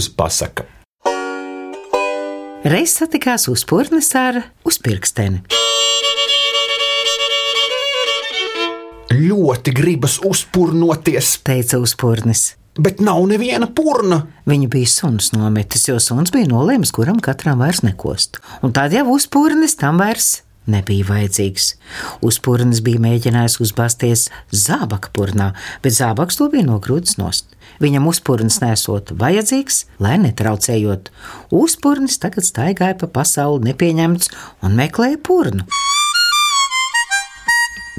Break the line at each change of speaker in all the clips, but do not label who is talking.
uzpasaka.
Reiz satikās uzpūrnes ar uzpirksteni.
Ļoti gribas uzpurnoties,
Teica uzpūrnis.
bet nav neviena purna.
Viņu bija suns nometis, jo suns bija nolēmis, kuram katram vairs nekost. Un tad jau uzpūrnis tam vairs nebija vajadzīgs. Uzpūrnis bija mēģinājis uzbāzties zābakpurnā, bet zābaks to bija nogrūdis nost. Viņam uzpūrnis nesot vajadzīgs, lai netraucējot. Uzpūrnis tagad staigāja pa pasauli nepieņemts un meklēja purnu.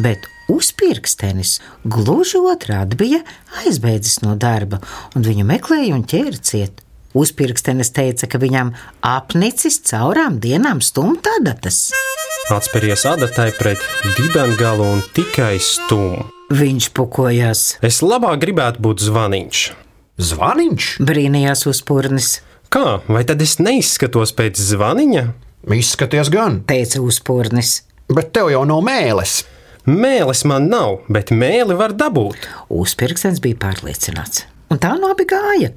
Bet uzpirkstenis gluži otrādi bija aizbēdzis no darba, un viņu meklēja un ķēra ciet. Uzpirkstenis teica, ka viņam apnicis caurām dienām stumtadatas.
Atspēries adatai pret dibengalu un tikai stumu.
Viņš pukojās,
Es labāk gribētu būt zvaniņš.
Zvaniņš
brīnījās uzpūrnis,
Kā, vai tad es neizskatos pēc zvaniņa?
izskaties gan,
teica uzpūrnis.
bet tev jau nav mēlis.
Mēlis man nav, bet mēli var dabūt.
Uzpirkstenis bija pārliecināts. Un tā no abi gāja.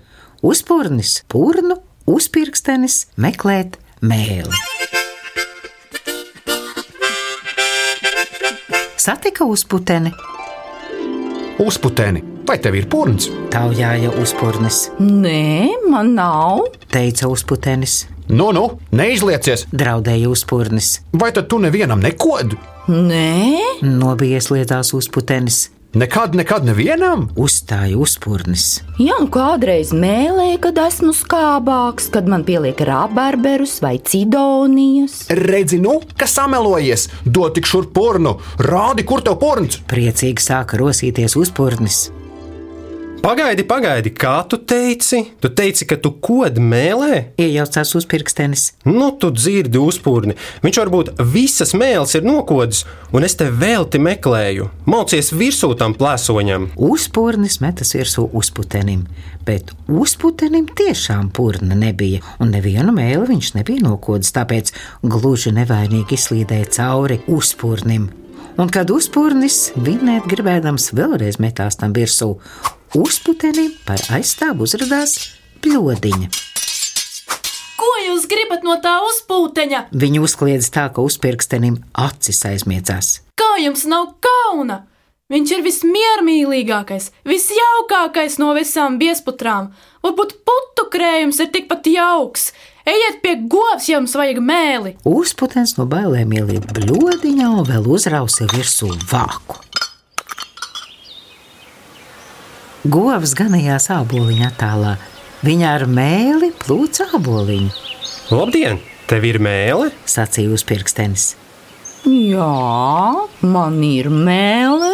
Uzpūrnis, pūrnu, uzpirkstenis meklēt mēli. Satika uzputeni,
Uzputeni, vai tev ir purns?
taujāja uzpūrnis,
Nē, man nav.
teica uzputenis,
Nu, nu, neizliecies,
draudēja uzpūrnis,
vai tad tu nevienam nekod?
Nē,
nobijiesliedās uzputenis,
Nekad, nekad nevienam?
uzstāja uzpūrnis.
jau kādreiz mēlēju, kad esmu skābāks, kad man pieliek rabarberus vai cidonijas.
Redzi, nu, ka samelojies, dod tik šur pornu, rādi, kur tev porns.
Priecīgi sāka rosīties uzpūrnis,
Pagaidi, pagaidi, kā tu teici? Tu teici, ka tu kod mēlē?
iejaucās uzpirkstenis,
Nu, tu dzirdi uzpūrni. Viņš varbūt visas mēlis ir nokodis, un es te vēl te meklēju. Mācies virsū tam plēsoņam.
Uzpūrnis metas virsū uzputenim, bet uzputenim tiešām purna nebija, un nevienu mēli viņš nebija nokodis, tāpēc gluži nevainīgi izslīdēja cauri uzpūrnim. Un, kad uzpūrnis vinēt gribēdams vēlreiz metās tam virsū, uzputenim par aizstāvu uzrādās pļodiņa.
Ko jūs gribat no tā uzpūteņa?
Viņu uzkliedz tā, ka uzpirkstenim acis aizmiedzās.
Kā jums nav kauna? Viņš ir vismiermīlīgākais, visjaukākais no visām viesputrām. Varbūt putu krējums ir tikpat jauks. Ejiet pie govs, ja jums vajag mēli.
Uzputens no bailēm ielika bludiņā un vēl uzrausa virsū vāku. Govs ganījās āboliņā tālā. Viņa ar mēli plūca āboliņu,
Labdien, tev ir mēlē?
sacīja uzpirkstenis.
Jā, man ir mēlē.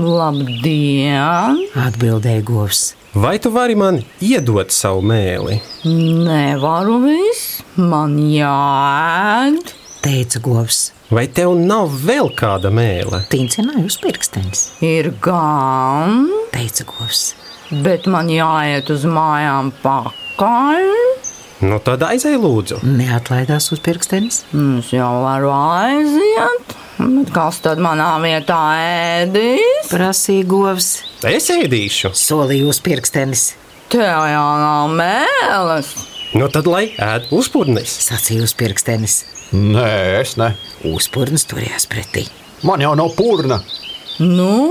Labdien!
Atbildēja govs.
Vai tu vari man iedot savu mēli?
Nevaru viss, man jāēd.
Teica govs,
Vai tev nav vēl kāda mēlē?
tīncināja uzpirkstenis.
Ir gan,
Teica govs,
bet man jāiet uz mājām pakaļ.
Nu, tad aizej lūdzu.
neatlaidās uzpirkstenis.
Es jau varu aiziet, bet kas tad manā vietā ēdīs?
Prasīja govs,
Es ēdīšu.
solīja uzpirkstenis,
Tev jau nav mēlis.
Nu, tad lai ēd uzpūrnis.
sacīja uzpirkstenis.
Nē, es ne.
Uzpurns turējās pretī.
Man jau nav purna.
Nu,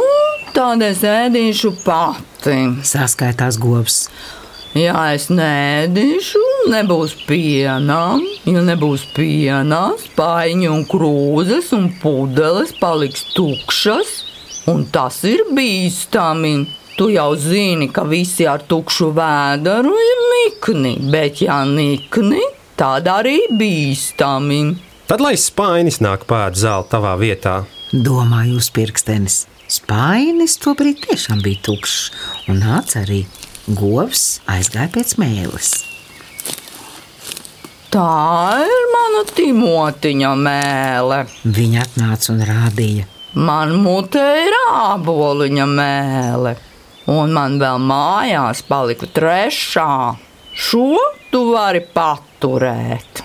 tad es ēdīšu pati.
Saskaitās govs,
Ja es nēdīšu, nebūs piena. Ja nebūs piena, spaiņi un krūzes un pudeles paliks tukšas, un tas ir bīstami. Tu jau zini, ka visi ar tukšu vēderu ir nikni, bet ja nikni, tad arī bīstami.
Tad lai spainis nāk pāri zāli tavā vietā.
Domāju, uz pirkstenis. Spainis tobrīd tiešām bija tukšs, un nāca arī govs aizgāja pēc mēlis.
Tā ir mana timotiņa mēlē.
Viņa atnāca un rādīja.
Man mutē ir āboliņa mēlē, un man vēl mājās palika trešā. Šo tu vari paturēt.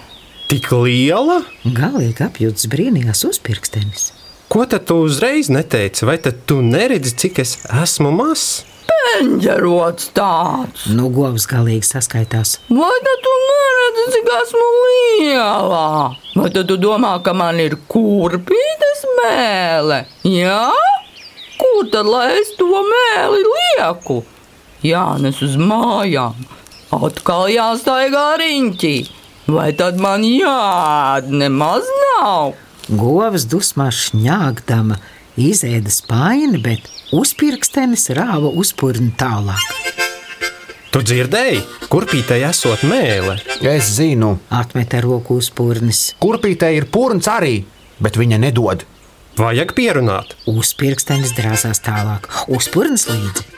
Tik liela?
Galīgi apjūts brīnījās uz pirkstenis.
Ko tad tu uzreiz neteici? Vai tad tu neredzi, cik es esmu mazs?
ķenģerots tāds.
Nu, govs galīgi saskaitās.
Vai tad tu neredzi, cik esmu lielā? Vai tad tu domā, ka man ir kurpītes mēlē? Jā, kur tad lai es to mēli lieku? Jā, nes uz mājām, atkal jāstaigā riņķī. Vai tad man jādara nemaz nav?
Govs dusmā šņāgdama izēda spaini, bet uzpirkstenis rāva uzpurni tālāk.
Tu dzirdēji, kurpītei esot mēlē.
Es zinu,
Atmeta roku uzpurnis.
kurpītē ir purns arī, bet viņa nedod.
Vajag pierunāt.
Uzpirkstenis drāzās tālāk, uzpurns līdzi.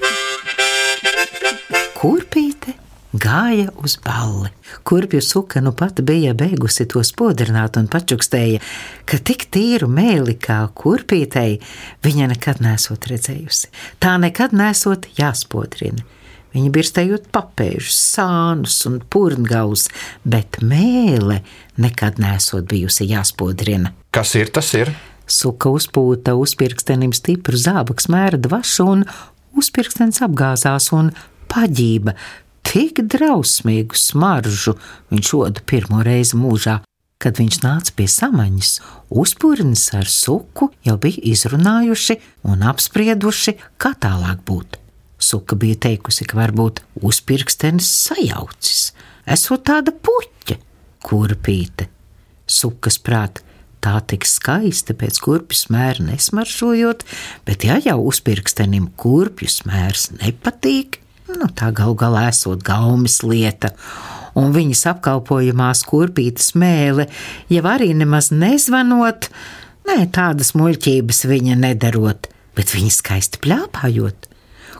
Kurpīte gāja uz balli. Kurpju suka nu pat bija beigusi to spodrināt un pačukstēja, ka tik tīru mēli kā kurpītei viņa nekad nesot redzējusi. Tā nekad nesot jāspodrina. Viņa birstējot papēžus, sānus un purngaus, bet mēle nekad nesot bijusi jāspodrina.
Kas ir tas? Ir?
Suka uzpūta uzpirkstenim stipru zābakus mēra dvašu, un uzpirkstenis apgāzās un paģība. Tik drausmīgu smaržu viņš šodu pirmo reizi mūžā. Kad viņš nāca pie samaņas, uzpūrnis ar suku jau bija izrunājuši un apsprieduši, kā tālāk būt. Suka bija teikusi, ka varbūt uzpirkstenis sajaucis, esot tāda puķa, kurpīte. Sukas prāt, tā tik skaista pēc kurpju smēra nesmaržojot, bet ja jau uzpirkstenim kurpju smērs nepatīk, nu tā gal galā esot gaumes lieta. Un viņas apkalpojumā skurpīta smēle, jau arī nemaz nezvanot, nē, tādas muļķības viņa nedarot, bet viņa skaisti plāpājot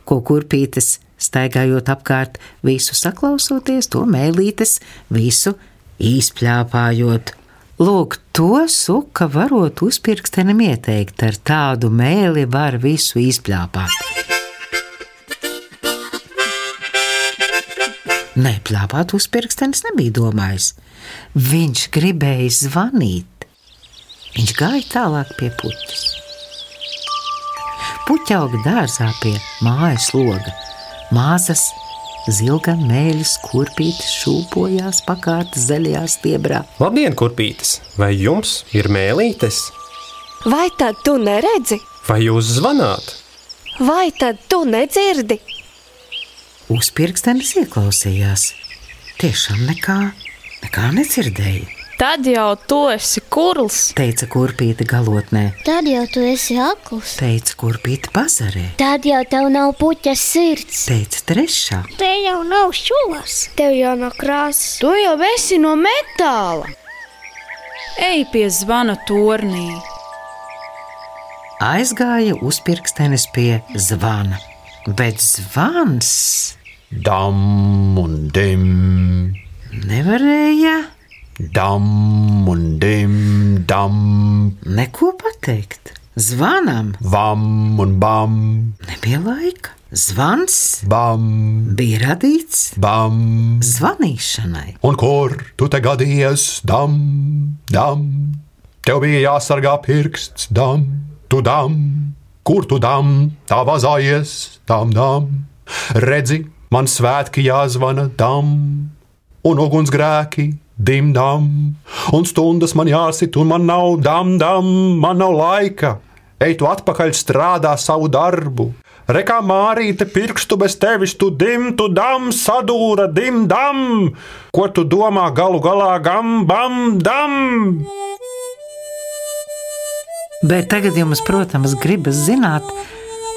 ko kurpītes, staigājot apkārt, visu saklausoties, to mēlītes, visu izplāpājot. Lūk, to suka varot uzpirkstenim ieteikt, ar tādu mēli var visu izplāpāt. Nē, plāpāt uzpirkstenis nebija domājis. Viņš gribēja zvanīt. Viņš gāja tālāk pie puķa puķauga dārzā pie mājas loga. Māzas, zilga mēlis, kurpītis šūpojās pakāpes zaļajā stiebrā.
Labdien, kurpītes! Vai jums ir mēlītes?
Vai tad tu neredzi,
Vai jūs zvanāt?
vai tad tu nedzirdi?
Uzpirkstenis ieklausījās. Tiešām nekā, nekā nedzirdēja,
Tad jau tu esi kurls.
teica kurpīte galotnē,
Tad jau tu esi akls.
teica kurpīte pazarē,
Tad jau tev nav puķa sirds.
teica trešā.
Te jau nav šūnas. Tev jau nav krāsas.
Tu jau esi no metāla.
Ej pie zvana tornī.
Aizgāja uzpirkstenis pie zvana, bet zvans
Dam un dim,
nevarēja
dam un dim, dam,
neko pateikt. Zvanam
vam un bam,
Nebija laika. Zvans
bam,
bija radīts
bam.
zvanīšanai.
Un kur tu te gadījies, dam, dam? Tev bija jāsargā pirksts, dam, tu dam, kur tu dam, tā vazājies, tam dam. Redzi, man svētki jāzvana, dam, un ugunsgrēki. Dim, dam, un stundas man jāsit, un man nav dam, dam, man nav laika. Ej, tu atpakaļ strādā savu darbu. Rekā Mārīte, pirkstu bez tevis, tu dim, tu dam, sadūra, dim, dam. Ko tu domā galu galā, gam, bam, dam?
Bet tagad jums, protams, gribas zināt,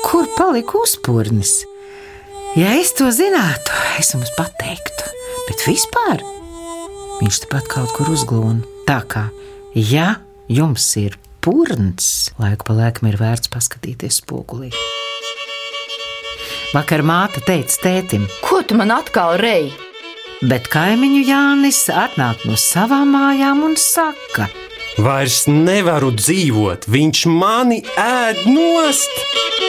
kur palika uzpūrnis. Ja es to zinātu, es jums pateiktu, bet vispār viņš tepat kaut kur uzglūna. Tā kā, ja jums ir purns, laiku pa laikam ir vērts paskatīties spogulī. Vakar māte teica tētim,
Ko tu man atkal rei?
Bet kaimiņu Jānis atnāk no savām mājām un saka,
Vairs nevaru dzīvot, viņš mani ēd nost!